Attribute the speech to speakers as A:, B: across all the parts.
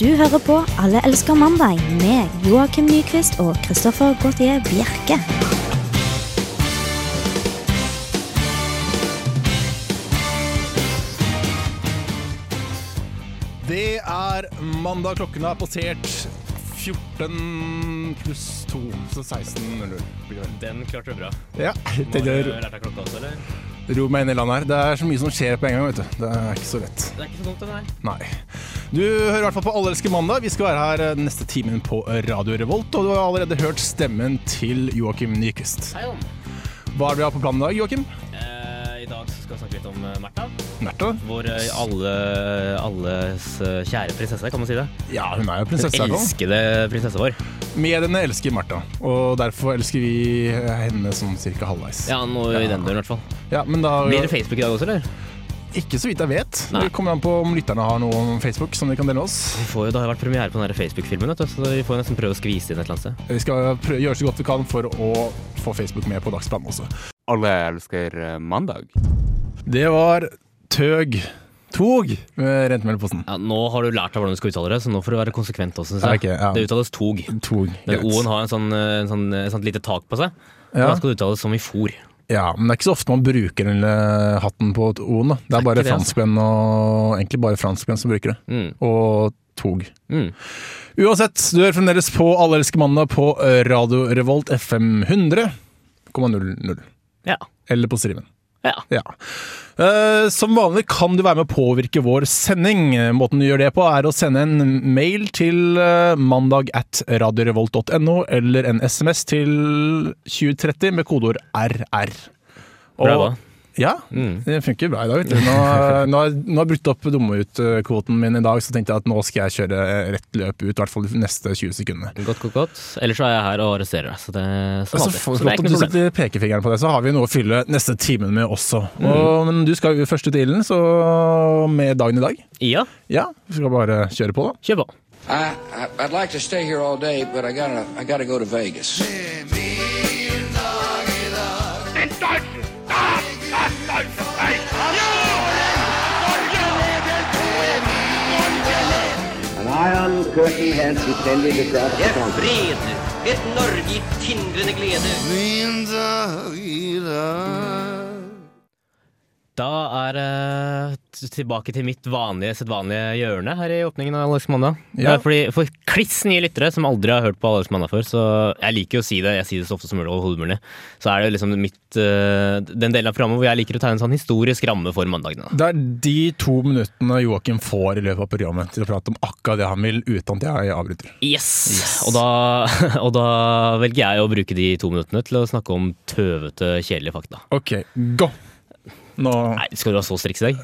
A: Du hører på Alle elsker mandag med Joakim Nyquist og Christoffer Gautier Bjerke.
B: Det er mandag, klokken er passert 14 pluss 2, så 16.00. blir det.
C: Den klarte du bra.
B: Ja,
C: Har du
B: tenker
C: lært deg klokka også, eller?
B: å ro meg inn i landet her. Det er så mye som skjer på en gang, vet du. Det er ikke så lett.
C: Det er ikke så dumt, den her.
B: Nei. Du hører i hvert fall på Alle elsker mandag. Vi skal være her eh, neste timen på Radio Revolt, og du har allerede hørt stemmen til Joakim Nyquist.
C: Hei, Jon.
B: Hva er det vi har på planen i dag, Joakim?
C: Eh, I dag så skal vi snakke litt om eh, Märtha.
B: Märtha?
C: Vår eh, alle, alles eh, kjære prinsesse, kan man si det.
B: Ja, hun er jo prinsesse. i hvert fall.
C: Elskede prinsesse vår.
B: Mediene elsker Märtha, og derfor elsker vi henne sånn cirka halvveis.
C: Ja, noe
B: Ja.
C: i den døren i hvert fall.
B: Ja, men da
C: Blir det Facebook i dag også, eller?
B: Ikke så vidt jeg vet.
C: Nei.
B: Det kommer an på om lytterne har noe om Facebook som de kan dele med oss.
C: Vi får jo, det har jo vært premiere på den her Facebook-filmen, vet du, så vi får jo nesten prøve å skvise inn et eller annet sted.
B: Vi skal prø- gjøre så godt vi kan for å få Facebook med på dagsplanen også.
D: Alle elsker eh, mandag.
B: Det var Tøg Tog med rentemeldeposten.
C: Ja, nå har du lært deg hvordan du skal uttale det, så nå får du være konsekvent også, synes jeg.
B: Ja, ok, ja.
C: Det uttales tog.
B: Tog.
C: Den
B: greit.
C: O-en har en sånn, eh, en sånn, en sånn lite tak på seg.
B: Ja.
C: Da skal det uttales som i fôr.
B: ja, men det er ikke så ofte man bruker den lille hatten på O-en. da. Det
C: Det
B: er bare
C: er ikke det, altså.
B: franskmenn og egentlig bare franskmenn som bruker det.
C: Mm.
B: Og tog.
C: Mm.
B: Uansett, du hører fremdeles på Alle elsker mandag på Radio Revolt FM 100,00.
C: Ja.
B: Eller på streamen.
C: ja.
B: Ja. Eh, som vanlig kan du være med å påvirke vår sending. Eh, Måten du gjør det på er å sende en mail til eh, mandag at radiorevolt.no eller en SMS til 2030 med kodeord RR. Og-
C: Bra, da.
B: Ja,
C: Mm.
B: det funker bra i dag. Vet du. Nå, eh, nå, har- nå har jeg brutt opp dumme ut-kvoten min i dag, så tenkte jeg at nå skal jeg kjøre rett løp ut, i hvert fall de neste 20 sekundene.
C: Godt, godt, godt. Ellers så er jeg her og arresterer deg. Så det,
B: Så
C: som vanlig. så det er
B: flott
C: ikke
B: at
C: noe
B: du
C: problem.
B: setter pekefingeren på det, så har vi noe å fylle neste timen med også.
C: Mm.
B: Og, men du skal jo først ut i ilden, så med dagen i dag.
C: Ja,
B: Ja, vi skal bare kjøre på, da.
C: kjør på.
E: I, I I'd like to stay here all day, but I gotta I gotta go to Vegas.
F: An iron curtain had descended across the country.
G: Fred, et Norge i tindrende glede.
C: Da er jeg tilbake til mitt vanlige, sedvanlige hjørne her i åpningen av Alex Mandag.
B: Ja.
C: Det er Fordi for kliss nye lyttere som aldri har hørt på Alex Mandag før, så jeg liker jo å si det, jeg sier det så ofte som mulig, overhodet mulig, så er det liksom mitt, eh, den delen av programmet hvor jeg liker å tegne en sånn historisk ramme for mandagene.
B: Det er de to minuttene Joakim får i løpet av programmet til å prate om akkurat det han vil, uten at jeg avbryter.
C: Yes! Og, da, og da velger jeg å bruke de to minuttene til å snakke om tøvete, kjedelige fakta.
B: Ok, gå! Nå
C: Nei, skal du ha så striks i dag?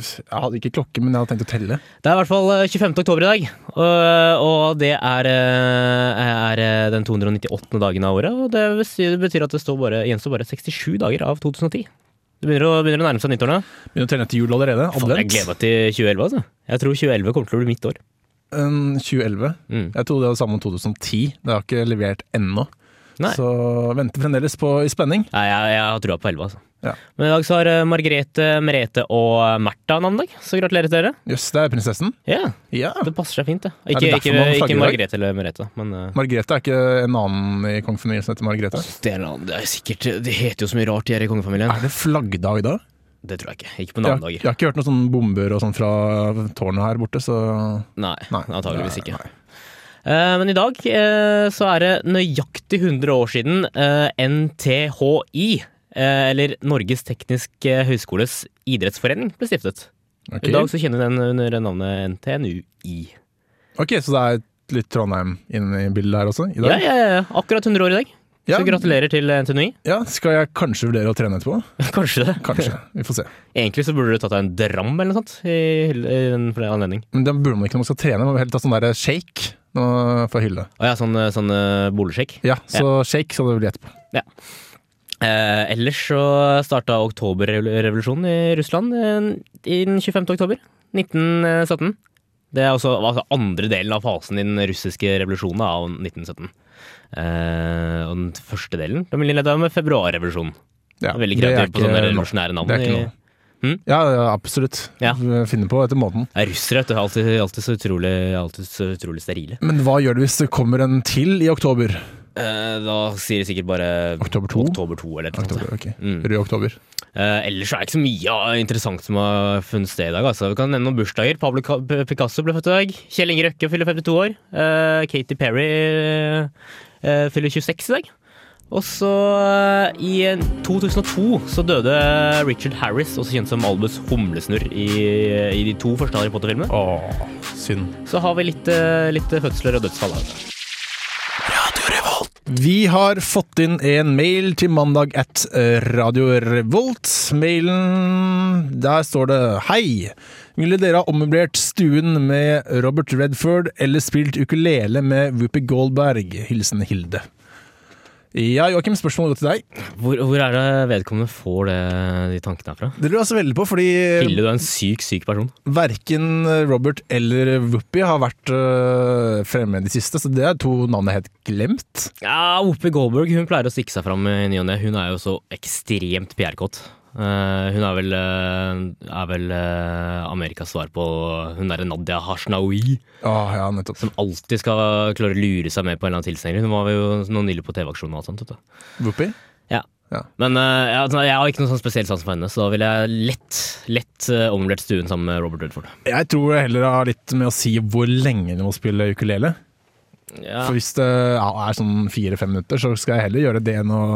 B: Jeg hadde ikke klokke, men jeg hadde tenkt å telle.
C: Det er i hvert fall eh, 25. oktober i dag, og, og det er, eh, er eh, den 298. dagen av året. Og det betyr- betyr at det står bare, gjenstår bare 67 dager av 2010. Det begynner å, begynner å nærme seg nyttårene.
B: Begynner å telle etter jul allerede.
C: Faen, jeg
B: Advent.
C: gleder meg til 2011. altså. Jeg tror 2011 kommer til å bli mitt år.
B: Um, 2011.
C: Mm.
B: Jeg trodde det var det samme om 2010. Det har ikke levert ennå.
C: Nei.
B: Så venter fremdeles på i spenning.
C: Nei, jeg, jeg har trua på 11, altså.
B: Ja.
C: Men i dag så har eh, Margrethe, Merete og Märtha navnedag, så gratulerer til dere.
B: Jøss, det er prinsessen.
C: Ja,
B: Ja.
C: det passer seg fint, det.
B: Er
C: Ikke,
B: det derfor
C: ikke,
B: man flagger i
C: ikke
B: dag?
C: Margrethe eller Merete, men eh,
B: Margrethe er ikke en annen i kongefamilien som heter Margrethe.
C: det, er, noe- det er sikkert Det heter jo så mye rart, de her i kongefamilien.
B: Er det flaggdag i dag?
C: Det tror jeg ikke. Ikke på
B: Jeg, har-
C: navnedager.
B: jeg har ikke hørt noen sånne bomber og sånn fra tårnet her borte, så
C: Nei,
B: Nei,
C: antageligvis
B: nei,
C: ikke.
B: nei.
C: Eh, men i dag eh, så er det nøyaktig 100 år siden eh, NTHI, eh, eller Norges tekniske høgskoles idrettsforening, ble stiftet.
B: Ok.
C: I dag så kjenner vi den under navnet NTNUI.
B: ok, så det er litt Trondheim inne i bildet her også? I
C: Ja,
B: dag?
C: ja, ja, akkurat 100 år i dag.
B: Ja.
C: Så gratulerer til NTNUI.
B: Ja, Skal jeg kanskje vurdere å trene etterpå?
C: Kanskje det.
B: Kanskje. Vi får se.
C: Egentlig så burde du tatt deg en dram eller noe sånt i, hyll- i den for den anledning.
B: Men det burde man ikke når man skal trene. Man må heller ta sånn der shake nå for hylle.
C: Å ja, sånn, eh, sånn eh, boligskjegg.
B: Ja, så shake skal det bli etterpå.
C: Eh, ellers så starta oktoberrevolusjonen i Russland eh, i den 25. oktober 1917. Det er også altså andre delen av fasen i den russiske revolusjonen av 1917. Eh, og den første delen den ble innleda med februarrevolusjonen.
B: Ja,
C: Veldig
B: det er
C: kreativt på
B: ikke
C: sånn sånne
B: noe.
C: revolusjonære navn.
B: Det er ikke
C: i-
B: noe.
C: Mm.
B: Ja, ja, absolutt.
C: Ja.
B: Finne på etter måten.
C: Ja, russere vet du, er alltid, alltid, så utrolig, alltid så utrolig sterile.
B: Men hva gjør du hvis det kommer en til i oktober?
C: Eh, da sier de sikkert bare
B: Oktober 2?
C: Oktober 2 eller noe sånt.
B: oktober ok.
C: Mm.
B: Rød oktober.
C: Eh, ellers er det ikke så mye av interessant som har funnet sted i dag. Altså. Vi kan nevne noen bursdager. Pablo Ca- P- Picasso ble født i dag. Kjell Inge Røkke fyller 52 år. Eh, Katy Perry eh, fyller 26 i dag. Og så eh, i 2002 så døde Richard Harris, også kjent som Albus Humlesnurr, i, eh, i de to første Harry Potter-filmene.
B: Åh, synd.
C: Så har vi litt, eh, litt fødsler og dødsfall. da.
B: Vi har fått inn en mail til mandag at eh, Radio Revolt. Mailen Der står det Hei! Ville dere ha ommøblert stuen med Robert Redford eller spilt ukulele med Whoopi Goldberg? Hilsen Hilde. Ja, Joakim, spørsmålet går til deg.
C: Hvor, hvor er det vedkommende får det, de tankene herfra?
B: Det lurer jeg også veldig på, fordi
C: Hilde, du er en syk, syk person.
B: verken Robert eller Whoopi har vært øh, fremme i det siste, så det er to navn jeg har helt glemt.
C: Ja, Whoopi Goldberg hun pleier å stikke seg fram i ny og ne. Hun er jo så ekstremt PR-kåt. Eh, hun er vel, eh, er vel eh, Amerikas svar på Hun derre Nadia Hashnaoui.
B: Åh, ja, nettopp.
C: Som alltid skal klare å lure seg med på en eller annen tilsnegring. Hun var jo noe nylig på TV-aksjonen og alt sånt. Vet du.
B: Whoopi?
C: Ja.
B: Ja.
C: Men eh, ja, altså, jeg har ikke noe sånn spesiell sans for henne, så da ville jeg lett, lett eh, omvurdert stuen sammen med Robert Redford.
B: Jeg tror det heller har litt med å si hvor lenge du må spille ukulele.
C: Ja.
B: For hvis det ja, er sånn fire-fem minutter, så skal jeg heller gjøre det enn å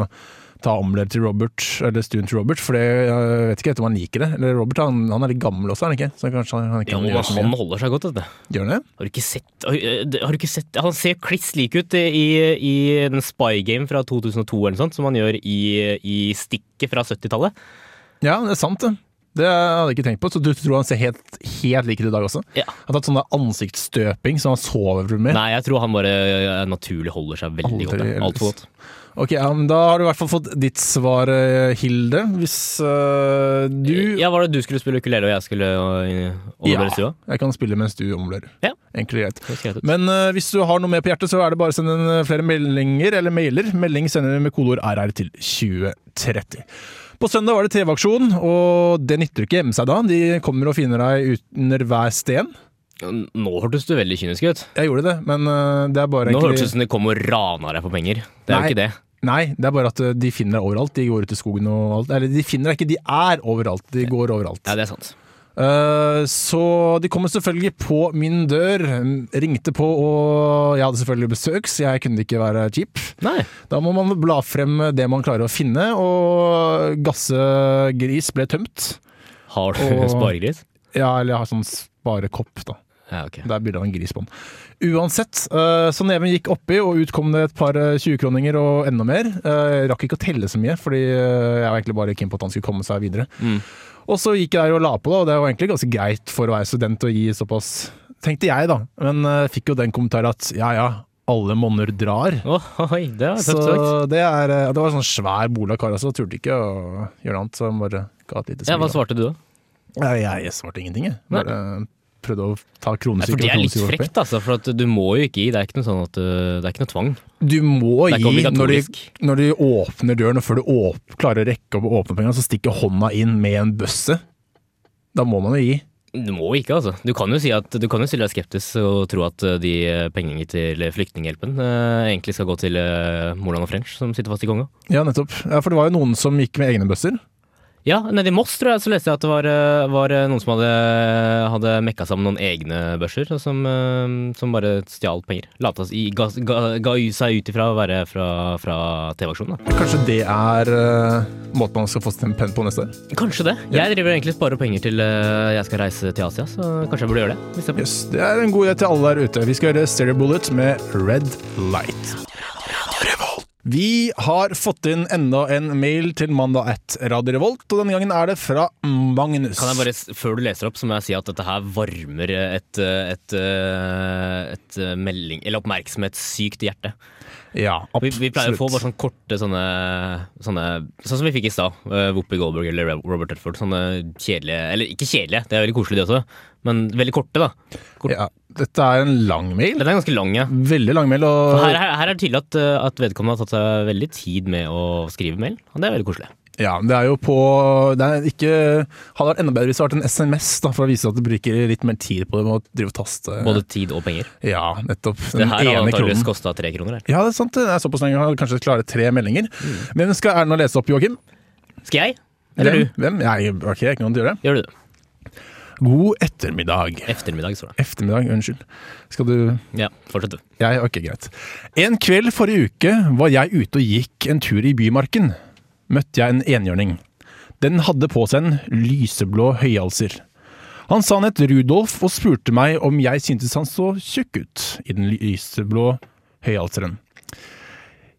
B: ta omler til Robert, eller stuen til Robert, for det, jeg vet ikke om han liker det. Eller Robert han, han er litt gammel også, er han ikke? Så kanskje han, han ikke
C: Jo,
B: kan gjøre så
C: han
B: mye.
C: holder seg godt, vet du.
B: Gjør han det?
C: Har du ikke sett, har, eh, har du ikke sett Han ser kliss lik ut i, i den Spy Game fra 2002 eller noe sånt, som han gjør i, i Stikket fra 70-tallet.
B: Ja, det er sant det. Det hadde jeg ikke tenkt på. Så du tror han ser helt, helt lik ut i dag også?
C: Ja.
B: Han har tatt sånn der ansiktsstøping som han sover med?
C: Nei, jeg tror han bare eh, naturlig holder seg veldig
B: Aldri
C: godt. ja. Alt for godt.
B: Ok, ja, men Da har du i hvert fall fått ditt svar, eh, Hilde. Hvis eh, du
C: Ja, Var det du skulle spille ukulele, og jeg skulle overbevise stua?
B: Jeg kan spille mens du omler.
C: Ja.
B: Enkelt og greit.
C: Det høres greit ut.
B: Men eh, hvis du har noe mer på hjertet, så er det bare å sende inn eh, flere meldinger eller mailer. Melding sender du med kodeord RR til 2030. På søndag var det TV-aksjon, og det nytter ikke å gjemme seg da. De kommer og finner deg under hver sten.
C: Nå hørtes du veldig kynisk ut.
B: Jeg gjorde det, men eh, det er bare
C: Nå
B: egentlig-
C: hørtes det ut som de kom og rana deg for penger. Det er
B: Nei.
C: jo ikke det.
B: Nei, det er bare at eh, de finner deg overalt. De går ut i skogen og alt. Eller de finner deg ikke, de er overalt. De går overalt.
C: Ja, det er sant.
B: Eh, Så de kom selvfølgelig på min dør, ringte på, og jeg hadde selvfølgelig besøk, så jeg kunne ikke være kjip.
C: Nei.
B: Da må man bla frem det man klarer å finne, og gassegris ble tømt.
C: Har du
B: Og-
C: sparegris?
B: Ja, eller jeg har sånn sparekopp, da.
C: Ja, ok.
B: Det er bilde av en gris på den. Uansett, eh, så neven gikk oppi, og ut kom det et par eh, 20-kroninger og enda mer. Eh, Jeg rakk ikke å telle så mye, fordi eh, jeg var egentlig bare keen på at han skulle komme seg videre.
C: Mm.
B: Og så gikk jeg der og la på, da, og det var egentlig ganske greit for å være student å gi såpass, tenkte jeg da. Men eh, fikk jo den kommentaren at ja ja, alle monner drar.
C: Oi, det var
B: Så
C: tøft sagt.
B: det, er, eh, det var en sånn svær bola kar, altså. Turte ikke å gjøre noe annet, så han bare ga et lite
C: Ja, hva
B: smil.
C: svarte du, da?
B: Nei, Jeg svarte ingenting, jeg. Bare eh, prøvde å ta
C: Ja, for
B: kronesyke
C: det
B: og
C: er litt
B: kronesyke oppi.
C: frekt, altså, for at du må jo ikke gi. Det er ikke noe sånn at uh, Det er ikke noe tvang.
B: Du må
C: Det er
B: gi
C: ikke
B: når de,
C: obligatorisk.
B: når de åpner døren, og før du åp klarer å rekke opp å åpne pengene, så stikker hånda inn med en bøsse. Da må man jo gi.
C: Du må ikke, altså. Du kan jo si at du kan jo stille deg skeptisk og tro at uh, de uh, pengene til Flyktninghjelpen uh, egentlig skal gå til uh, Moland og French, som sitter fast i Konga.
B: Ja, nettopp. Ja, for det var jo noen som gikk med egne bøsser.
C: Ja, nede i Moss tror jeg så leste jeg at det var, uh, var uh, noen som hadde, hadde mekka sammen noen egne børser, og som, uh, som bare stjal penger. Lata, i, ga, ga, ga seg ut ifra å være fra, fra TV-aksjonen, da.
B: Kanskje det er eh, måten man skal få sin penn på neste år.
C: Kanskje det. Jeg driver egentlig og sparer penger til uh, jeg skal reise til Asia, så kanskje jeg burde gjøre det. Hvis jeg...
B: Yes, det er en god idé til alle der ute. Vi skal gjøre Stereo Bullet med Red Light. Vi har fått inn enda en mail til mandag at Radio Revolt, og denne gangen er det fra Magnus.
C: Kan jeg bare, s- Før du leser opp, så må jeg si at dette her varmer et, eh, et, eh, et eh, melding Eller oppmerksomhetssykt hjerte.
B: Ja,
C: Vi,
B: absolutt.
C: vi pleier å få bare sånne korte sånne, sånne Sånn som vi fikk i stad. eh, Whoopi Goldberg eller Re- Robert Redford. Sånne kjedelige Eller ikke kjedelige, det er veldig koselig, det også, men veldig korte, da. Kort.
B: Ja, Mm. dette er en lang mail.
C: Dette er ganske lang, ja.
B: Veldig lang mail. Og
C: Her, her, her er det tydelig at, eh, at vedkommende har tatt seg veldig tid med å skrive mail, og det er veldig koselig.
B: Ja, det er jo på Det er ikke Hadde vært enda bedre hvis det hadde vært en SMS, da, for å vise at du bruker litt mer tid på det med å drive og taste.
C: Både tid og penger.
B: Ja, nettopp.
C: Det her har
B: ene kronen.
C: antakeligvis kosta tre kroner. Her.
B: Ja, det er sant. Det er såpass lenge. Jeg har kanskje klare tre meldinger. Hvem skal Erna lese opp, Joakim?
C: Skal jeg? Mm. Eller
B: Hvem?
C: du?
B: Hvem? Jeg, ok, jeg kan gjøre det.
C: Gjør du det?
B: God ettermiddag.
C: Eftermiddag, står det.
B: Eftermiddag, unnskyld. Skal du
C: Ja, fortsett du.
B: Jeg, ok, greit. En kveld forrige uke var jeg ute og gikk en tur i Bymarken. Møtte jeg en enhjørning. Den hadde på seg en lyseblå høyhalser. Han sa han het Rudolf og spurte meg om jeg syntes han så tjukk ut i den lyseblå høyhalseren.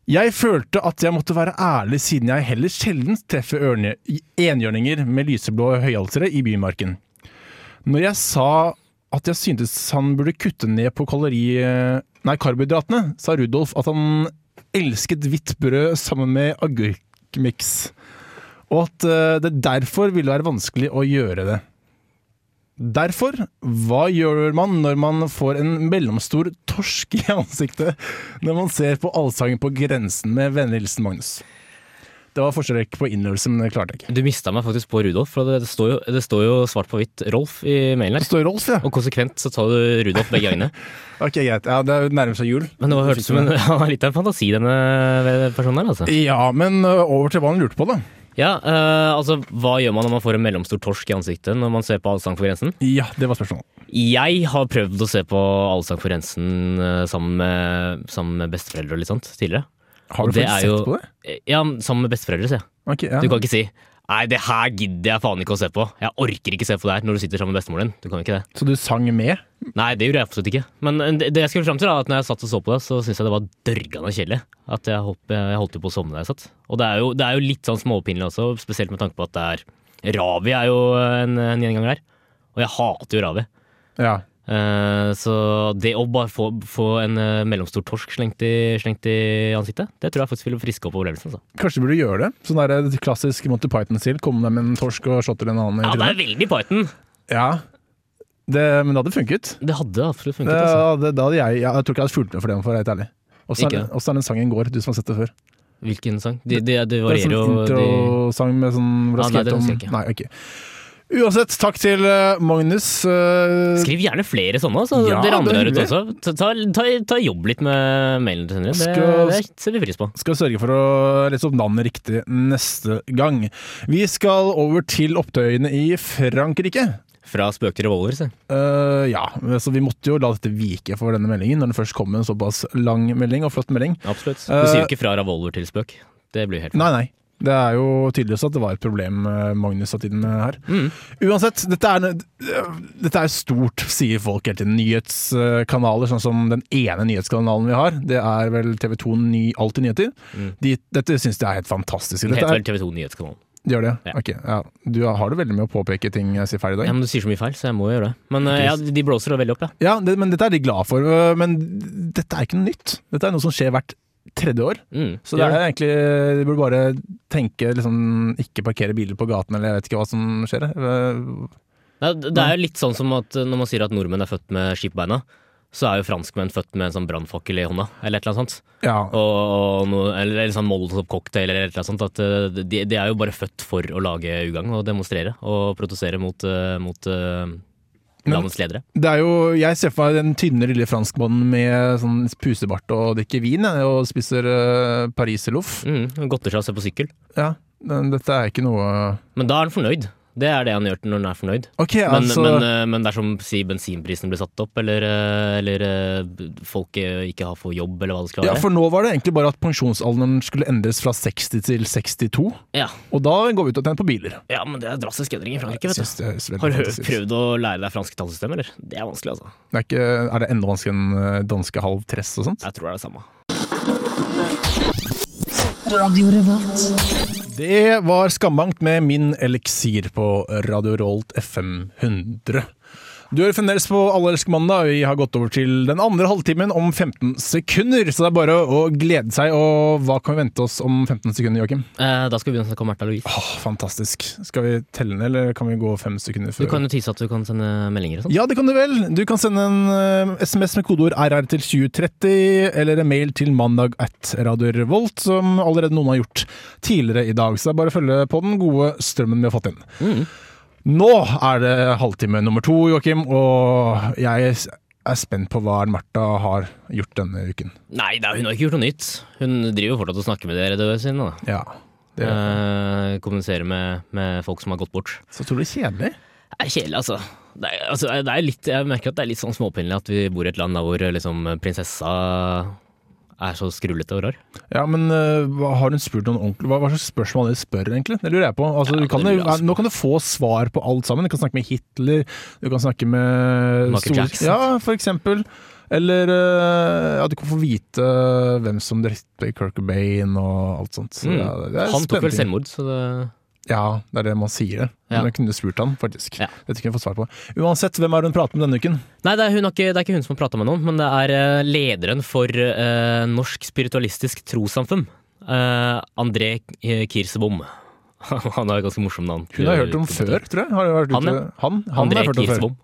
B: Jeg følte at jeg måtte være ærlig siden jeg heller sjelden treffer ørne- enhjørninger med lyseblå høyhalsere i Bymarken. Når jeg sa at jeg syntes han burde kutte ned på kalori... eh, Nei, karbohydratene, sa Rudolf at han elsket hvitt brød sammen med agurkmiks. Og at eh, det derfor ville være vanskelig å gjøre det. Derfor, hva gjør man når man får en mellomstor torsk i ansiktet når man ser på Allsangen på grensen med vennlig hilsen Magnus? Det var forskjellrekk på innlevelse, men det klarte jeg ikke.
C: Du mista meg faktisk på Rudolf, for det står jo, det står jo svart på hvitt Rolf i mailen
B: Det
C: her.
B: står Rolf, ja.
C: Og konsekvent så tar du Rudolf begge øynene.
B: Ok, greit. Ja, det nærmer seg jul.
C: Men det var- hørtes ut som en, han har litt av en fantasi, denne personen her, altså.
B: Ja, men ø, over til hva han lurte på, da.
C: Ja, eh, altså, hva gjør man når man får en mellomstor torsk i ansiktet når man ser på Allsang på grensen?
B: Ja, det var spørsmålet.
C: Jeg har prøvd å se på Allsang på grensen eh, sammen med, sammen med besteforeldre og litt sånt tidligere.
B: Har du
C: Det
B: faktisk sett
C: er jo-
B: på det?
C: Eh, Ja, sammen med besteforeldre, sier jeg.
B: Ok, ja.
C: Du kan ikke si Nei, det her gidder jeg faen ikke å se på. Jeg orker ikke se på det her når du sitter sammen med bestemoren din. Du kan ikke det.
B: Så du sang med?
C: Nei, det gjorde jeg absolutt ikke. Men eh, det det jeg skulle frem til, da, at når jeg satt og så på det, så syntes jeg det var dørgende kjedelig. At jeg, hopp, jeg holdt jo på å sovne da jeg satt. Og det er jo, det er jo litt sånn småpinlig også, spesielt med tanke på at det er Ravi er jo en, en gjenganger her. Og jeg hater jo Ravi.
B: Ja.
C: Eh, så det å bare få, få en eh, mellomstor torsk slengt i, slengt i ansiktet, det tror jeg faktisk ville friske opp overlevelsen. Altså.
B: Kanskje du burde gjøre det? Sånn der klassisk Monty Python-stil. Komme deg med en torsk og slå til en annen. i
C: Ja, det
B: trynet.
C: er veldig Python!
B: ja. Det, men det hadde funket.
C: Det hadde absolutt
B: Det,
C: funket. Altså.
B: det, det hadde jeg, jeg tror ikke jeg hadde fulgt med for det, for å være helt ærlig. Åssen er,
C: Ikke?
B: hvordan er den sangen går, du som har sett det før?
C: Hvilken sang? Det de, de
B: Det er en
C: varierer
B: sånn
C: jo de,
B: introsang med sånn hvor
C: Ah,
B: det
C: nei, det
B: er
C: husker jeg
B: skrevet
C: ikke.
B: om Nei, ok. Uansett, takk til ø, Magnus. øh, ø,
C: Skriv gjerne flere sånne, så
B: Ja,
C: dere andre der
B: det er
C: ute også. Ta, ta, ta, ta jobb litt med mailen til Henrik. Det,
B: Skal-
C: det ser vi pris på.
B: skal sørge for å lese opp navnet riktig neste gang. Vi skal over til opptøyene i Frankrike.
C: Fra spøk til revolver, se.
B: Eh, ja, så vi måtte jo la dette vike for denne meldingen, når det først kom en såpass lang melding og flott melding.
C: Absolutt. Du
B: Eh,
C: sier jo ikke fra revolver til spøk. Det blir jo helt
B: Nei, nei. Det er jo tydeligvis at det var et problem eh, Magnus satt inn med her. Uansett, dette er, en- dette er stort, sier folk hele tiden. Nyhetskanaler, sånn som den ene nyhetskanalen vi har, det er vel TV 2 ny, Alltid nyheter. De, dette syns jeg er helt fantastisk.
C: Det
B: Dette
C: heter
B: er,
C: vel TV 2 Nyhetskanalen.
B: Gjør det?
C: Ja.
B: Ok. Ja. Du har det veldig med å påpeke ting jeg sier feil i
C: Ja,
B: dag.
C: men Du sier så mye feil, så jeg må jo gjøre det. Men eh, ja, de blåser det veldig opp, ja.
B: Ja, det, men Dette er de glad for. øh, Men dette er ikke noe nytt. Dette er noe som skjer hvert tredje år.
C: Mm,
B: Så det
C: gjør
B: er egentlig, de burde bare tenke liksom, ikke parkere biler på gaten, eller jeg vet ikke hva som skjer. Øh,
C: Nei, det- det er jo litt sånn som at når man sier at nordmenn er født med skipbeina, så er jo franskmenn født med en sånn brannfakkel i hånda, eller et eller annet sånt.
B: Ja.
C: Og, og noe, eller en sånn Molotov-cocktail eller et eller annet sånt. At eh, de, de er jo bare født for å lage ugagn og demonstrere og protestere mot, eh, mot eh, landets ledere.
B: Det er jo, jeg ser for meg den tynne, lille franskmannen med sånn pusebart og drikker vin jeg, og spiser øh, pariserloff.
C: Mm, Godter seg å se på sykkel.
B: Ja, men dette er ikke noe
C: Men da er han fornøyd. Det er det han gjør til når han er fornøyd.
B: Ok,
C: Men,
B: altså
C: men, eh, men dersom si, bensinprisen blir satt opp, eller, eh, eller eh, folk eh, ikke har for jobb, eller hva det skal
B: Ja,
C: være.
B: for nå var det egentlig bare at pensjonsalderen skulle endres fra 60 til 62,
C: Ja,
B: og da går vi ut og tjener på biler.
C: ja, men det er drastisk endring i Frankrike,
B: Jeg
C: vet du.
B: synes det høres veldig
C: Har du
B: fantastisk ut.
C: prøvd å lære deg franske tallsystem, eller? Det er vanskelig, altså.
B: Det er, ikke, er det enda vanskeligere enn eh, danske halv tress og sånt?
C: Jeg tror det er det samme.
B: Det var skambankt med min eliksir på Radio Rolt FM 100. Du hører fremdeles på Allelsk mandag. Vi har gått over til den andre halvtimen om 15 sekunder. Så det er bare å glede seg. Og hva kan vi vente oss om 15 sekunder, Joakim?
C: Eh, da skal vi begynne å snakke om Märtha Louise.
B: Åh, fantastisk. Skal vi telle ned, eller kan vi gå fem sekunder
C: Du
B: før?
C: kan jo tise at du kan sende meldinger og sånn.
B: Ja, det kan du vel. Du kan sende en eh, SMS med kodeord RR til 2030, eller en mail til mandag at Radio Revolt, som allerede noen har gjort tidligere i dag. Så det er bare å følge på den gode strømmen vi har fått inn. Nå er det halvtime nummer to, Joakim, og jeg er spent på hva Martha har gjort denne uken.
C: Nei, da, hun har ikke gjort noe nytt. Hun driver jo fortsatt og snakker med de redaktørene sine. Da.
B: Ja, det
C: Eh, kommuniserer med, med folk som har gått bort.
B: Så tror du det er kjedelig?
C: Det er kjedelig, altså. Det er, altså det er litt, jeg merker at det er litt sånn småpinlig at vi bor i et land der hvor liksom, prinsessa er så skrullete og rar.
B: Ja, men eh, hva- har hun spurt noen ordentlig? Hva, hva slags spørsmål er det du spør, egentlig? Det lurer jeg på. Altså,
C: Ja,
B: du kan,
C: det lurer jeg
B: jo-
C: også
B: nå kan du få svar på alt sammen. Du kan snakke med Hitler, du kan snakke med
C: Michael
B: store-
C: Jackson.
B: Ja, for eksempel. Eller eh, ja, du kan få vite hvem som drepte Kirk Cobain og alt sånt. Så,
C: Mm.
B: ja, det er
C: Han tok vel
B: spennende.
C: selvmord, så det
B: Ja, det er det man sier.
C: Ja.
B: Men jeg kunne spurt han, faktisk.
C: Ja.
B: Dette kunne jeg fått svar på. Uansett, hvem er det hun prater med denne uken?
C: Nei, det er, hun har ikke, det er ikke hun som har prata med noen, men det er eh, lederen for eh, Norsk spiritualistisk trossamfunn. eh, André Kirsebom. Han har et ganske morsomt navn.
B: Hun har jeg hørt om før, tror jeg. Har jeg vært ute-
C: Han, ja.
B: han, han har
C: André
B: jeg hørt om før.
C: Kirsebom.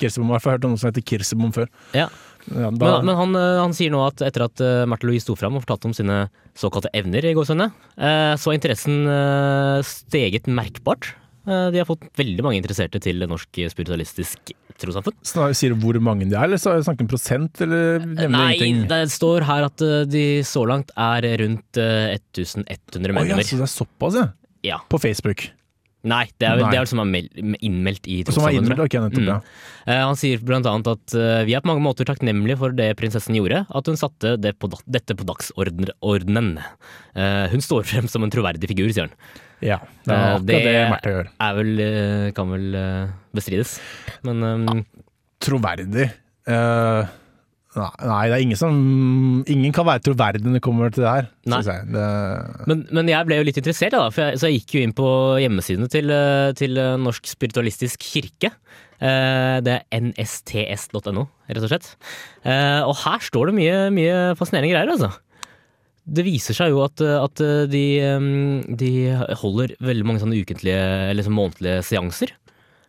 B: Kirsebom. Jeg har i hvert fall hørt om noen som heter Kirsebom før.
C: Ja.
B: Ja, da-
C: Men, men han, eh, han sier nå at etter at eh, Märtha Louise sto fram og fortalte om sine såkalte evner, i gåsehudene, eh, så har interessen eh, steget merkbart. Eh, De har fått veldig mange interesserte til Norsk spiritualistisk trossamfunn.
B: Snar- Sier du hvor mange de er, eller så snakker du om prosent, eller nevner du
C: Nei,
B: ingenting?
C: det står her at eh, de så langt er rundt eh, 1100
B: Oi,
C: medlemmer.
B: altså, det er såpass, ja.
C: Ja.
B: På Facebook.
C: Nei, det er, vel-
B: Nei.
C: det er vel som er mel- innmeldt i
B: Som er
C: trossamfunnet,
B: innmeldt.
C: tror jeg.
B: Ok, nettopp.
C: Mm.
B: Ja.
C: Eh, Han sier blant annet at eh, vi er på mange måter takknemlige for det prinsessen gjorde, at hun satte det på, da- dette på dagsordenen. Eh, Hun står frem som en troverdig figur, sier han.
B: ja. Det er
C: Eh,
B: akkurat det,
C: det-
B: Märtha gjør.
C: Er vel, eh, kan vel eh, bestrides. Men eh,
B: Troverdig. Eh, nei, nei, det er ingen som Ingen kan være troverdig når det kommer til det her,
C: Nei.
B: synes jeg. Det,
C: Men, men jeg ble jo litt interessert, da, for jeg, så jeg gikk jo inn på hjemmesidene til, eh, til eh, Norsk spiritualistisk kirke. Eh, Det er nsts.no, rett og slett. Eh, Og her står det mye, mye fascinerende greier, altså. Det viser seg jo at, eh, at eh, de, eh, de holder veldig mange sånne ukentlige, eller sånn månedlige seanser.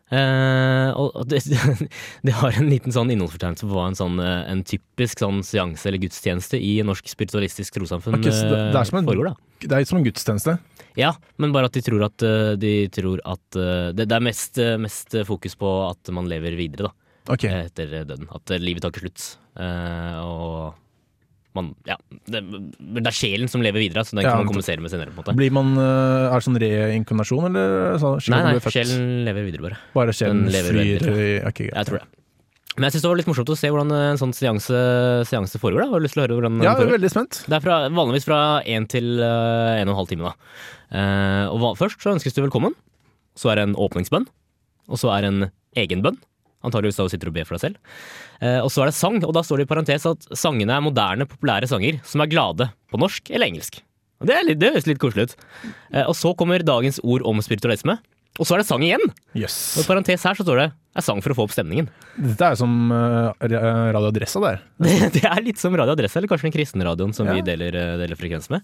C: Eh, og og det, det har en liten sånn innholdsfortegnelse på hva en, sånn, eh, en typisk sånn seanse eller gudstjeneste i norsk spiritualistisk trossamfunn
B: Ok, så det- det er som en-
C: eh, foregår. da.
B: det er som en gudstjeneste.
C: Ja, men bare at de tror at, eh, de tror at eh, det, det er mest, eh, mest fokus på at man lever videre, da.
B: Ok.
C: eh, Etter eh, døden. At eh, livet tar ikke slutt. Eh, og man Ja. Det, men det er sjelen som lever videre, så den
B: Ja,
C: kan man
B: nettopp.
C: kommunisere med senere, på en måte.
B: Blir man, eh, er det sånn reinkarnasjon, eller sånn? slik
C: Nei,
B: at man
C: nei,
B: blir født?
C: sjelen lever videre, bare.
B: Bare sjelen
C: den lever
B: flyr
C: videre.
B: i- ok, greit.
C: Jeg tror det. Men jeg syns det var litt morsomt å se hvordan eh, en sånn seanse, seanse foregår. da. Har du lyst til å høre hvordan den
B: Ja, jeg er
C: foregår?
B: veldig spent.
C: Det er fra, vanligvis fra én til eh, en og en halv time. da. Eh, og hva- Først så ønskes du velkommen. Så er det en åpningsbønn. Og så er det en egen bønn. Antakeligvis da du sitter og ber for deg selv. Eh, og så er det sang, og da står det i parentes at sangene er moderne, populære sanger som er glade på norsk eller engelsk. Og Det, er litt, det høres litt koselig ut. Eh, og så kommer dagens ord om spiritualisme. Og så er det sang igjen!
B: Jøss.
C: Og i parentes her så står det er sang for å få opp stemningen.
B: Dette er jo som eh, Radio Adressa, det her.
C: Det, det er litt som Radio Adresse, eller kanskje den kristne radioen som
B: Ja.
C: vi deler, eh, deler frekvens med.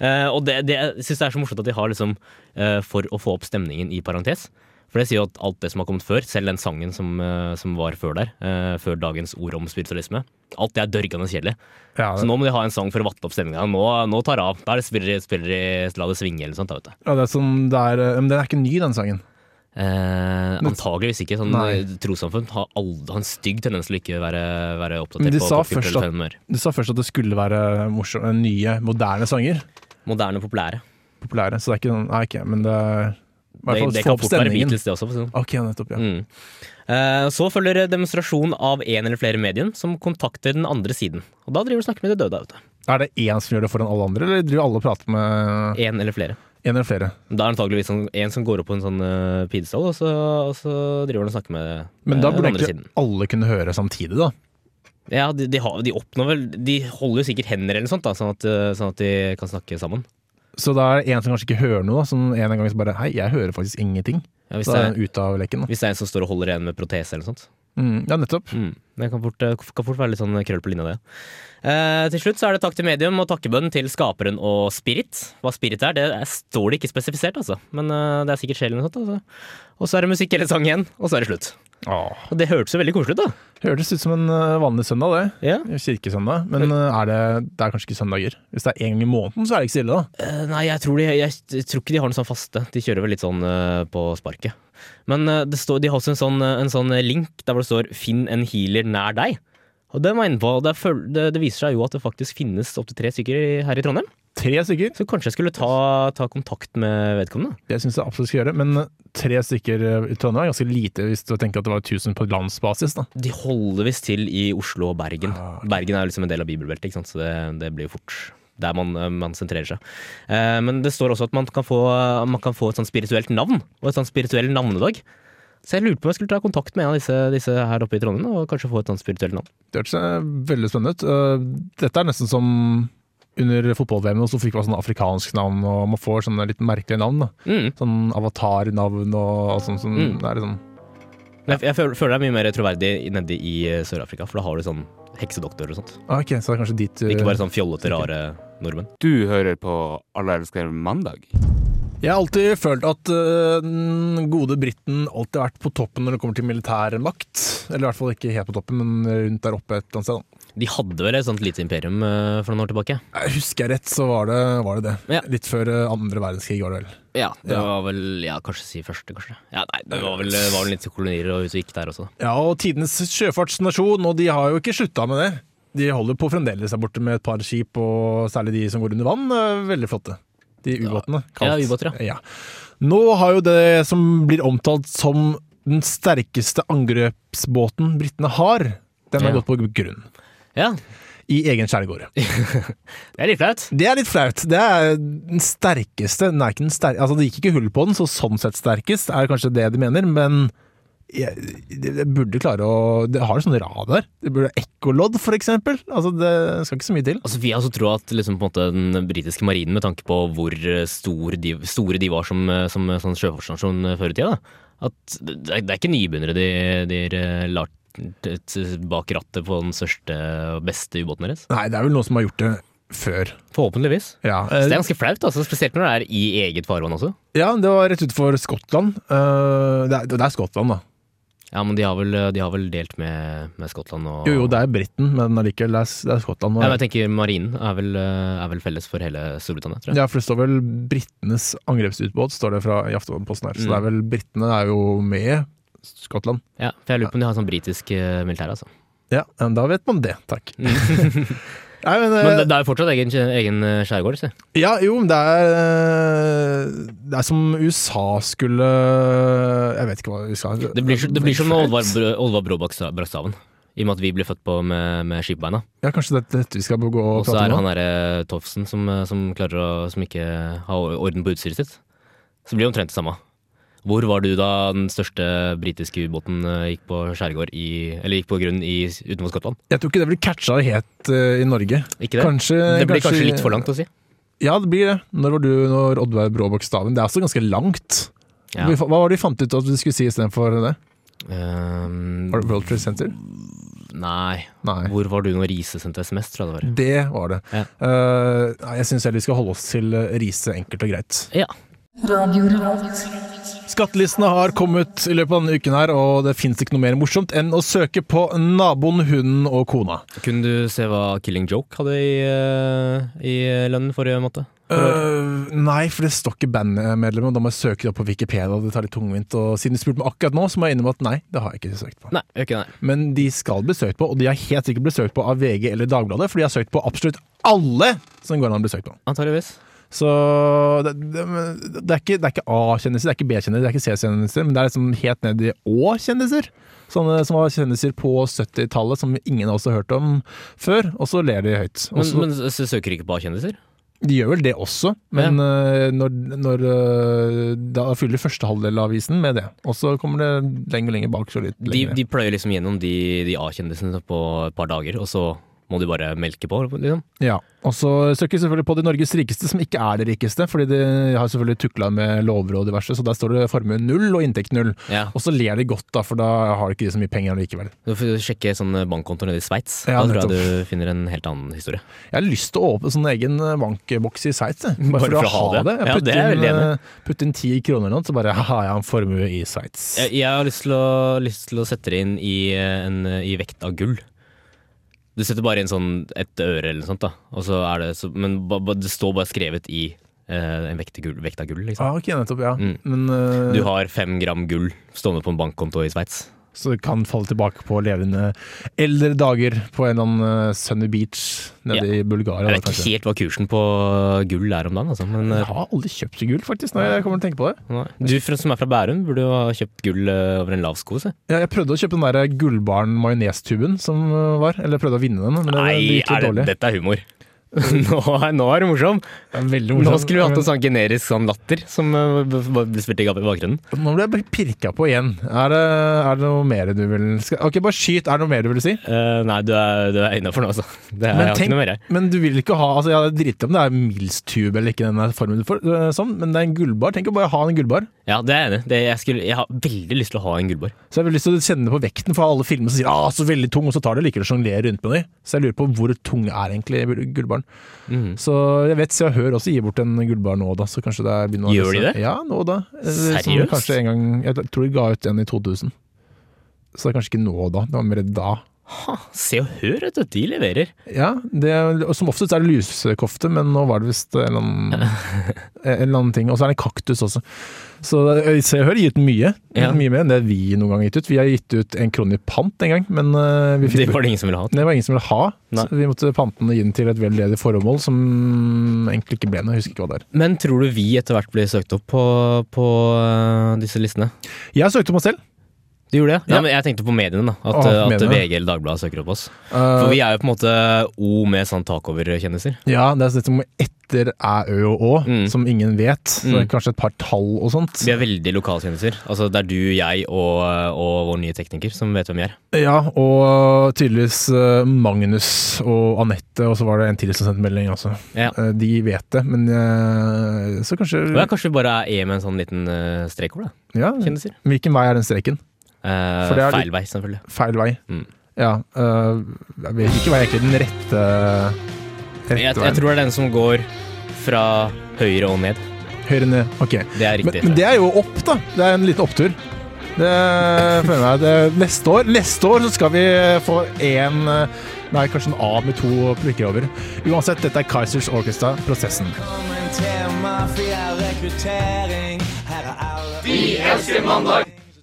C: Eh, og det, det, jeg syns det er så morsomt at de har liksom eh, for å få opp stemningen i parentes. For det sier jo at alt det som har kommet før, selv den sangen som, eh, som var før der, eh, før dagens ord om spiritualisme, alt det er dørgende kjedelig.
B: Ja,
C: Så nå må de ha en sang for å vatte opp stemninga. Nå, nå tar det av. Da er det spiller, spiller i La det svinge eller noe sånt. Da, vet du.
B: Ja, det er som det er, eh, men den er ikke ny, den sangen.
C: Eh, antageligvis ikke. Sånn,
B: Nei.
C: trossamfunn har, aldri, har en stygg tendens til å ikke være, være
B: Men
C: oppdatert
B: de
C: på
B: sa
C: popkulturelle
B: først at-
C: fenomener.
B: Du sa først at det skulle være morsomme, nye, moderne sanger.
C: Moderne, populære.
B: Populære. Så det er ikke noen Nei, ikke, men det er i hvert
C: Det,
B: fall
C: det
B: få
C: kan
B: opp
C: fort være
B: stemningen.
C: Beatles, det også. For å si det sånn.
B: Ok, nettopp. Ja.
C: Mm. Eh, Så følger demonstrasjon av en eller flere medier som kontakter den andre siden. Og da driver du og snakker med de døde. Vet du.
B: Er det én som gjør det foran alle andre, eller driver alle og prater med
C: En eller flere.
B: én eller flere?
C: Da er det antageligvis sånn, en som går opp på en sånn uh, pidestall, og, så, og så driver han og snakker med
B: Men
C: eh,
B: da burde
C: den andre
B: egentlig
C: siden.
B: alle kunne høre samtidig, da.
C: Ja, de, de, har, de oppnår vel De holder jo sikkert hender eller noe sånt, da, sånn, at, eh, sånn at de kan snakke sammen.
B: Så da er det en som kanskje ikke hører noe, da, som en gang bare Hei, jeg hører faktisk ingenting.
C: Ja, hvis,
B: Så
C: det
B: er
C: er,
B: den ute av leken. Da.
C: hvis det er en som står og holder en med protese eller noe sånt.
B: Mm, ja, nettopp.
C: Mm. Det kan fort, kan fort være litt sånn krøll på linja, det. Eh, til slutt så er det takk til medium og takkebønn til skaperen og spirit. Hva spirit er, det er- står det ikke spesifisert, altså. Men eh, det er sikkert sjelen eller noe sånt. Altså. Og så er det musikk eller sang igjen, og så er det slutt.
B: Åh.
C: Og det hørtes jo veldig koselig ut, da.
B: Hørtes ut som en eh, vanlig søndag, det.
C: Ja.
B: Kirkesøndag. Men eh, er det, det er kanskje ikke søndager. Hvis det er én gang i måneden, så er det ikke så ille, da.
C: Eh, nei, jeg tror, de, jeg tror ikke de har noe sånn faste. De kjører vel litt sånn eh, på sparket. Men eh, det står, de har også en sånn, eh, en sånn link der hvor det står 'finn en healer nær deg'. Og det, må jeg inn på. Det, er føl- det, det viser seg jo at det faktisk finnes opptil tre stykker i- her i Trondheim.
B: Tre stykker.
C: Så kanskje jeg skulle ta, ta kontakt med vedkommende.
B: Det syns jeg absolutt skal gjøre. Men tre stykker eh, i Trondheim er ganske lite hvis du tenker at det var 1000 på landsbasis. da.
C: De holder visst til i Oslo og Bergen. Bergen er jo liksom en del av bibelbeltet, ikke sant? så det, det blir jo fort der man, eh, man sentrerer seg. Eh, men det står også at man kan få, man kan få et sånt spirituelt navn, og et sånt spirituell navnedag. Så jeg lurte på om jeg skulle ta kontakt med en av disse, disse her oppe i Trondheim, og kanskje få et sånt spirituelt navn.
B: Det hørtes eh, veldig spennende ut. Eh, Dette er nesten som under fotball-VM, og så fikk man sånne afrikanske navn, og man får sånne litt merkelige navn. da.
C: Mm.
B: Sånn avatar-navn og alt sånt. Som,
C: Mm.
B: det er liksom,
C: Men Jeg, jeg føler, føler det er mye mer troverdig nede i eh, Sør-Afrika, for da har du sånn heksedoktor og sånt.
B: ah, ok, så det er kanskje dit du
C: Ikke bare sånn fjollete, rare nordmenn.
D: Du hører på Alle elsker mandag.
B: Jeg har alltid følt at eh, den gode briten alltid har vært på toppen når det kommer til militær makt. Eller i hvert fall ikke helt på toppen, men rundt der oppe et eller annet sted. da.
C: De hadde vel et sånt lite imperium eh, for noen år tilbake?
B: Jeg husker jeg rett, så var det var det. det.
C: Ja.
B: Litt før eh, andre verdenskrig, var det vel.
C: Ja, det
B: Ja.
C: var vel Ja, kanskje si første, kanskje. Ja, nei, det var vel, var vel litt kolonier og ut og gikk der også.
B: Ja, og tidenes sjøfartsnasjon, og de har jo ikke slutta med det. De holder på fremdeles der borte med et par skip, og særlig de som går under vann. er Veldig flotte. De ubåtene. kalt.
C: Ja, ubåter,
B: ja. Nå har jo det som blir omtalt som den sterkeste angrepsbåten britene har, den har
C: Ja.
B: gått på grunn.
C: Ja,
B: I egen skjærgård.
C: det er litt flaut.
B: Det er litt flaut. Det er den sterkeste den er ikke den ster altså, Det gikk ikke hull på den, så sånn sett sterkest er kanskje det de mener, men jeg, det det burde klare å Det har jo sånn radar. Det burde ha ekkolodd, for eksempel. Altså, det skal ikke så mye til.
C: Altså, Vi har også troa at liksom, på en måte, den britiske marinen, med tanke på hvor eh, stor de, store de var som, eh, som eh, sånn sjøfartsnasjon eh, før i tida, da. at det, er- det er ikke nybegynnere de, de eh, lar t- t- bak rattet på den største og beste ubåten deres.
B: Nei, det er vel noen som har gjort det før.
C: Forhåpentligvis.
B: Ja,
C: Så det
B: eh,
C: er ganske flaut, altså, spesielt når det er i eget farvann også.
B: ja det var rett utenfor Skottland. Eh, det, er, det er Skottland, da.
C: Ja, Men de har vel, de har vel delt med, med Skottland og
B: Jo, jo, det er Briten, men allikevel, det er, det er Skottland. Og,
C: Ja, men jeg tenker Marinen er vel, eh, er vel felles for hele Storbritannia, tror jeg.
B: Ja, for det står vel britenes angrepsutbåt, står det fra i Aftenposten her. Så
C: Mm.
B: det er vel britene er jo med Skottland.
C: Ja, for jeg lurer på om de har sånn britisk eh, militær, altså.
B: Ja, men da vet man det, takk. Nei, men, eh,
C: Mm. Men det, det er jo fortsatt egen, egen eh, skjærgård, se.
B: Ja, jo, men det er eh, Det er som USA skulle eh, Jeg vet ikke hva USA
C: Det blir, så- det blir som med Oddvar, Br- Oddvar Bråbakk Stra- Brakstaven. I og med at vi ble født på med, med skipbeina.
B: Ja, kanskje det er dette vi skal gå og
C: Og så
B: prate
C: er
B: om?
C: han
B: nå?
C: derre Tofsen som, eh, som klarer å Som ikke har orden på utstyret sitt. Så blir det omtrent det samme. Hvor var du da den største britiske ubåten eh, gikk på skjærgård i Eller gikk på grunn i, utenfor Skottland?
B: Jeg tror ikke det blir catcha helt eh, i Norge.
C: Ikke det?
B: Kanskje,
C: det blir kanskje litt for langt å si.
B: Ja, det blir det. Når var du når Oddvar Bråbakk Staven? Det er altså ganske langt.
C: Ja.
B: Hva var det de fant ut at du skulle si istedenfor det?
C: Ehm,
B: Var det World Trade Center?
C: Nei.
B: Nei.
C: Hvor var du når Riise sendte SMS, tror jeg det var.
B: Det var det.
C: Ja.
B: Eh, nei, jeg syns heller vi skal holde oss til eh, Riise enkelt og greit.
C: Ja.
B: Skattelistene har kommet i løpet av denne uken her, og det fins ikke noe mer morsomt enn å søke på naboen, hunden og kona.
C: Kunne du se hva Killing Joke hadde i, eh, i lønnen forrige måned?
B: Øh, nei, for det står ikke bandmedlemmer, og da må jeg søke det opp på Wikipedia. og Det tar litt tungvint, og Siden du spurte meg akkurat nå, så må jeg innrømme at nei, det har jeg ikke søkt på.
C: Nei, gjør ikke det.
B: Men de skal bli søkt på, og de har helt sikkert blitt søkt på av VG eller Dagbladet, for de har søkt på absolutt alle som går an å bli søkt på.
C: Antageligvis.
B: Så det, det, det er ikke, det er ikke A-kjendiser, det er ikke B-kjendiser, det er ikke C-kjendiser, men det er liksom helt ned i Å-kjendiser. Sånne som var kjendiser på 70-tallet som ingen av oss har hørt om før, og så ler de høyt. Og
C: Men,
B: så-
C: men s- søker ikke på kjendiser?
B: de gjør vel det også, men eh, når, når eh, Da fyller første halvdel av avisen med det. Og så kommer det lenger og lenger bak. Så litt
C: De,
B: lenger.
C: de pløyer liksom gjennom de, de A-kjendisene på et par dager, og så må du bare melke på, liksom.
B: Ja, Og så søker vi selvfølgelig på de Norges rikeste, som ikke er de rikeste. Fordi de har selvfølgelig tukla med lover og diverse, så der står det formue null og inntekt null.
C: Ja.
B: Og så ler de godt, da, for da har de ikke de så mye penger likevel.
C: Du får sjekke sånn bankkonto nede i Sveits.
B: Ja,
C: da tror jeg
B: nettopp.
C: du finner en helt annen historie.
B: Jeg har lyst til å åpne sånn egen bankboks i Sveits, jeg.
C: Bare
B: bare for, å ha det. Jeg
C: Ja, det er jeg
B: putter
C: veldig enig i.
B: inn, putt inn ti kroner eller noe, så bare haha, jeg har en formue i Sveits.
C: Jeg, jeg har lyst til, å, lyst til å sette det inn i, eh, en, eh, i vekt av gull. Du setter bare inn sånn et øre eller noe sånt, da. Og så er det så, men ba, ba, det står bare skrevet i eh, en vekt, av gull, vekt av gull, liksom.
B: Ah, ok, nettopp, ja.
C: Mm.
B: Men eh,
C: Du har fem gram gull stående på en bankkonto i Sveits.
B: så du kan falle tilbake på levende eldre dager på en eller annen eh, sunny beach nede i Bulgaria.
C: Jeg
B: da,
C: vet ikke
B: kanskje.
C: helt hva kursen på gull er om dagen, altså. Men
B: Jeg
C: eh,
B: har aldri kjøpt gull, faktisk, når jeg kommer til å tenke på det.
C: nei. du fra- som er fra Bærum, burde jo ha kjøpt gull eh, over en lav sko, se.
B: Ja, jeg prøvde å kjøpe den der gullbaren majonestuben som øh, var, eller jeg prøvde å vinne den, men det, det gikk litt
C: er det,
B: dårlig.
C: dette er humor. nå, er, nå er det morsom.
B: Det er veldig
C: Nå
B: morsomt.
C: skulle vi hatt en sånn generisk sånn latter som eh, b- b- ble spilt i bakgrunnen.
B: Nå ble jeg bare pirka på igjen. Er det, er det noe mer du vil skal, Ok, bare skyt. Er det noe mer du vil si?
C: Eh, nei, du er, du er innafor nå, altså. Det er, jeg
B: Men,
C: har
B: tenk,
C: ikke noe mer, jeg.
B: men du vil ikke ha altså, Jeg driter om det er Mills-tube eller ikke, denne formen du får, øh, sånn, men det er en gullbar. Tenk å bare ha en gullbar.
C: Ja, det er jeg enig i. Det- Jeg, skulle- jeg har veldig lyst til å ha en gullbar.
B: Så jeg har veldig lyst til å kjenne på vekten, for alle filmer som sier ah, så veldig tung, og så tar de likevel og sjonglerer rundt med dem. Så jeg lurer på hvor tung er egentlig gullbaren.
C: Mhm.
B: Så jeg vet Se og Hør også gir bort en gullbar nå og da, så kanskje det er begynner å-
C: Gjør de det?
B: Ja, nå og da. Eh, som
C: Seriøst?
B: Kanskje en gang, jeg tror de ga ut en i 2000. Så det er kanskje ikke nå og da, det var mer da.
C: Se og hør, vet du. De leverer.
B: Ja, det, og Som oftest er det lusekofte, men nå var det visst en eller annen, en eller annen ting. Og så er det en kaktus også. Så eh, Se og Hør har gitt mye.
C: Ja.
B: Mye mer enn det vi noen gang har gitt ut. Vi har gitt ut en krone i pant en gang, men eh, vi fikk
C: Det var det ingen som ville ha.
B: det var ingen som ville ha,
C: Nei.
B: så vi måtte pante den og gi den til et veldedig formål som egentlig ikke ble noe. Jeg husker ikke hva det er.
C: Men tror du vi etter hvert blir søkt opp på, på eh, disse listene?
B: Jeg søkte meg selv.
C: Du gjorde det? Ja,
B: Ja.
C: men Jeg tenkte på mediene, da. At,
B: Å,
C: at
B: mediene.
C: VG eller Dagbladet søker opp oss. For
B: Eh,
C: vi er jo på en måte O med sånn takover-kjendiser.
B: ja, det er dette med etter æ, ø og å,
C: Mm.
B: som ingen vet. Så det er
C: Mm.
B: kanskje et par tall og sånt.
C: Vi er veldig lokalkjendiser. Altså, det er du, jeg og, og vår nye tekniker som vet hvem vi er.
B: Ja, og tydeligvis eh, Magnus og Anette, og så var det en til som sendte melding også.
C: Ja.
B: Eh, De vet det, men eh, så kanskje
C: Og ja, kanskje vi bare er E med en sånn liten eh, strek over, da.
B: ja,
C: Kjendiser.
B: Hvilken vei er den streken?
C: Eh,
B: Mm. For det er
C: feil vei, selvfølgelig.
B: Feil vei.
C: Mm.
B: Ja. eh, jeg vet ikke hva er egentlig den rette, rette
C: Jeg, jeg
B: veien.
C: tror det er den som går fra høyre og ned.
B: Høyre ned. Ok.
C: Det er
B: Men,
C: riktig.
B: men det er jo opp, da. Det er en liten opptur. Det føler jeg det, neste, år, neste år så skal vi få én Nei, kanskje en A med to prikker over. Uansett, dette er Kaizers Orchestra, prosessen.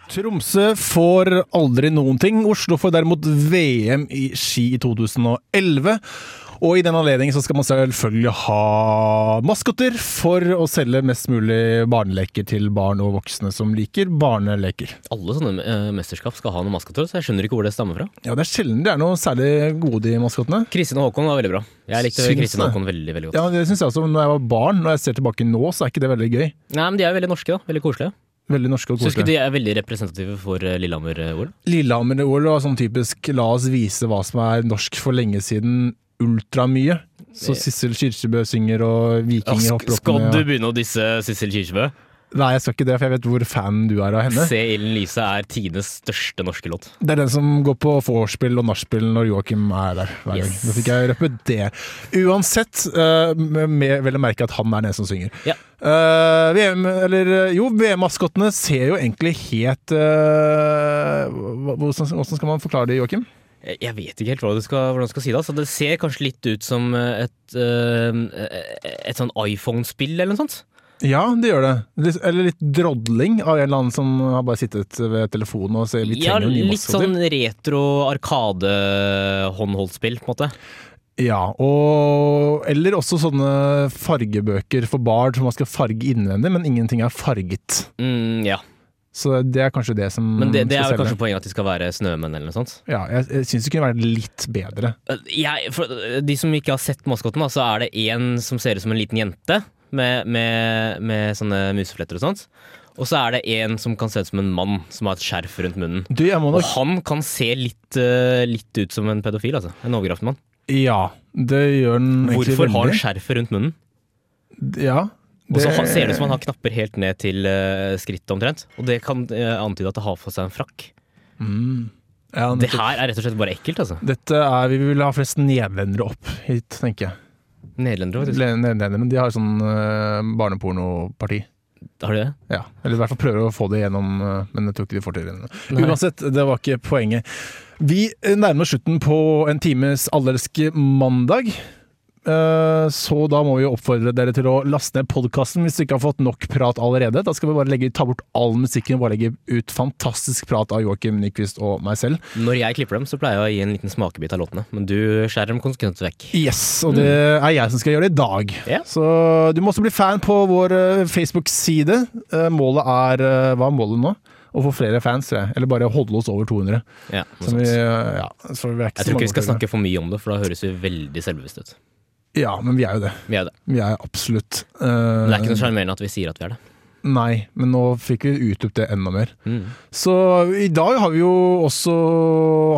B: Tromsø får aldri noen ting. Oslo får derimot VM i ski i 2011. Og i den anledning så skal man selvfølgelig ha maskotter for å selge mest mulig barneleker til barn og voksne som liker barneleker.
C: Alle sånne eh, mesterskap skal ha noen maskotter, så jeg skjønner ikke hvor det stammer fra.
B: Ja, Det er sjelden det er noe særlig gode de maskottene.
C: Kristin og Håkon var veldig bra. Jeg likte
B: Syns
C: Kristin
B: det.
C: og Håkon veldig veldig godt.
B: Ja, det synes jeg også, men Når jeg var barn, når jeg ser tilbake nå, så er ikke det veldig gøy.
C: Nei, men De er jo veldig norske, da. Veldig koselige.
B: Veldig norske og
C: Syns ikke
B: koselige.
C: de er veldig representative for eh, Lillehammer-OL?
B: Lillehammer-OL var sånn typisk 'la oss vise hva som er norsk for lenge siden', ultramye. Så Sissel Kyrkjebø synger, og vikinger hopper opp
C: Skal
B: ned,
C: du
B: og-
C: begynne å disse Sissel Kyrkjebø?
B: Nei, jeg skal ikke det, for jeg vet hvor fan du er av henne.
C: Se Ilden Lise er tidenes største norske låt.
B: Det er den som går på vorspiel og nachspiel når Joakim er der hver gang.
C: Yes.
B: Da fikk jeg røpe det. Uansett, eh, med, med vel å merke at han er den som synger.
C: Ja.
B: Eh, VM, eller eh, jo, VM-maskottene ser jo egentlig helt eh, hva- hvordan, hvordan skal man forklare det, Joakim?
C: Jeg jeg vet ikke helt hva du skal, hvordan du skal si det. Altså, det ser kanskje litt ut som eh, et, eh, et sånn iPhone-spill eller noe sånt.
B: Ja, det gjør det. Litt, eller litt drodling av en eller annen som har bare sittet ved telefonen og ser vi
C: Ja,
B: trenger jo nye
C: litt
B: maskotter.
C: sånn retro arkade-håndholdtspill, på en måte.
B: Ja, og, eller også sånne fargebøker for barn som man skal farge innvendig, men ingenting er farget.
C: Mm, ja.
B: Så det er kanskje det som
C: Men det, det er
B: Mm, skal
C: vel
B: selge.
C: kanskje poenget at de skal være snømenn eller noe sånt.
B: Ja, jeg, jeg syns det kunne vært litt bedre.
C: Eh, Jeg, for eh, de som ikke har sett maskotten, da, så er det én som ser ut som en liten jente med, med, med sånne musefletter og sånt. Og så er det én som kan se ut som en mann som har et skjerf rundt munnen.
B: Du, jeg må
C: Og
B: nok
C: øh, han kan se litt, eh, litt ut som en pedofil, altså. En overgrepsmann.
B: Ja, det gjør den egentlig
C: Hvorfor har han
B: veldig.
C: skjerfet rundt munnen?
B: Ja.
C: Og så ha- ser det ut som han har knapper helt ned til eh, skrittet omtrent. Og det kan eh, antyde at det har på seg en frakk.
B: ja,
C: Det
B: nettopp.
C: her er rett og slett bare ekkelt, altså.
B: Dette er, Vi vil ha flest nederlendere opp hit, tenker jeg.
C: Nederlendere, faktisk.
B: Le- Nederlendere, De har sånn eh, barnepornoparti.
C: Har de det?
B: Ja, Eller i hvert fall prøver å få det gjennom, eh, men jeg tror ikke de får til det. Uansett, det var ikke poenget. Vi eh, nærmer oss slutten på en times allerske mandag. Eh, Så da må vi jo oppfordre dere til å laste ned podkasten hvis du ikke har fått nok prat allerede. Da skal vi bare legge, ta bort all musikken og bare legge ut fantastisk prat av Joakim Nyquist og meg selv.
C: Når jeg klipper dem, så pleier jeg å gi en liten smakebit av låtene. Men du skjærer dem konsekvent vekk.
B: Yes, og det er jeg som skal gjøre det i dag.
C: Mm. Ja.
B: Så du må også bli fan på vår eh, Facebook-side. Eh, Målet er eh, Hva er målet nå? Å få flere fans, tror jeg. Eller bare holde oss over 200.
C: Ja, noe
B: Som vi,
C: sånt.
B: eh, ja, så vi er ikke så
C: Jeg tror
B: mange
C: ikke vi skal
B: over 200.
C: snakke for mye om det, for da høres vi veldig selvbevisste ut.
B: Ja, men vi er jo det.
C: Vi er det.
B: Vi er absolutt eh,
C: Men det er ikke noe sjarmerende at vi sier at vi er det.
B: Nei, men nå fikk vi utdypt det enda mer.
C: Mm.
B: Så i dag har vi jo også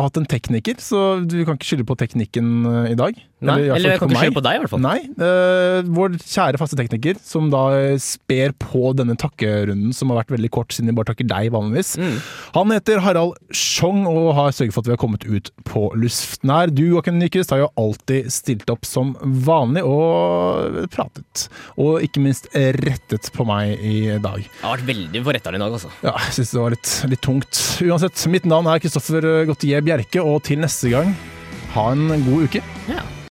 B: hatt en tekniker, så du kan ikke skylde på teknikken eh, i dag.
C: Nei,
B: i hvert fall
C: eller jeg kan ikke
B: meg.
C: skylde på deg, i hvert fall.
B: Nei. eh, vår kjære faste tekniker, som da sper på denne takkerunden, som har vært veldig kort siden vi bare takker deg vanligvis.
C: Mm.
B: Han heter Harald Schjong og har sørget for at vi har kommet ut på luften her. Du, Joakim Nyquist, har jo alltid stilt opp som vanlig og pratet. Og ikke minst rettet på meg i dag.
C: Jeg har vært veldig på retteren i dag, altså.
B: Ja, jeg syns det var litt, litt tungt. eh, Uansett, mitt navn er Kristoffer Gautier Bjerke, og til neste gang, ha en god uke.
C: Ja.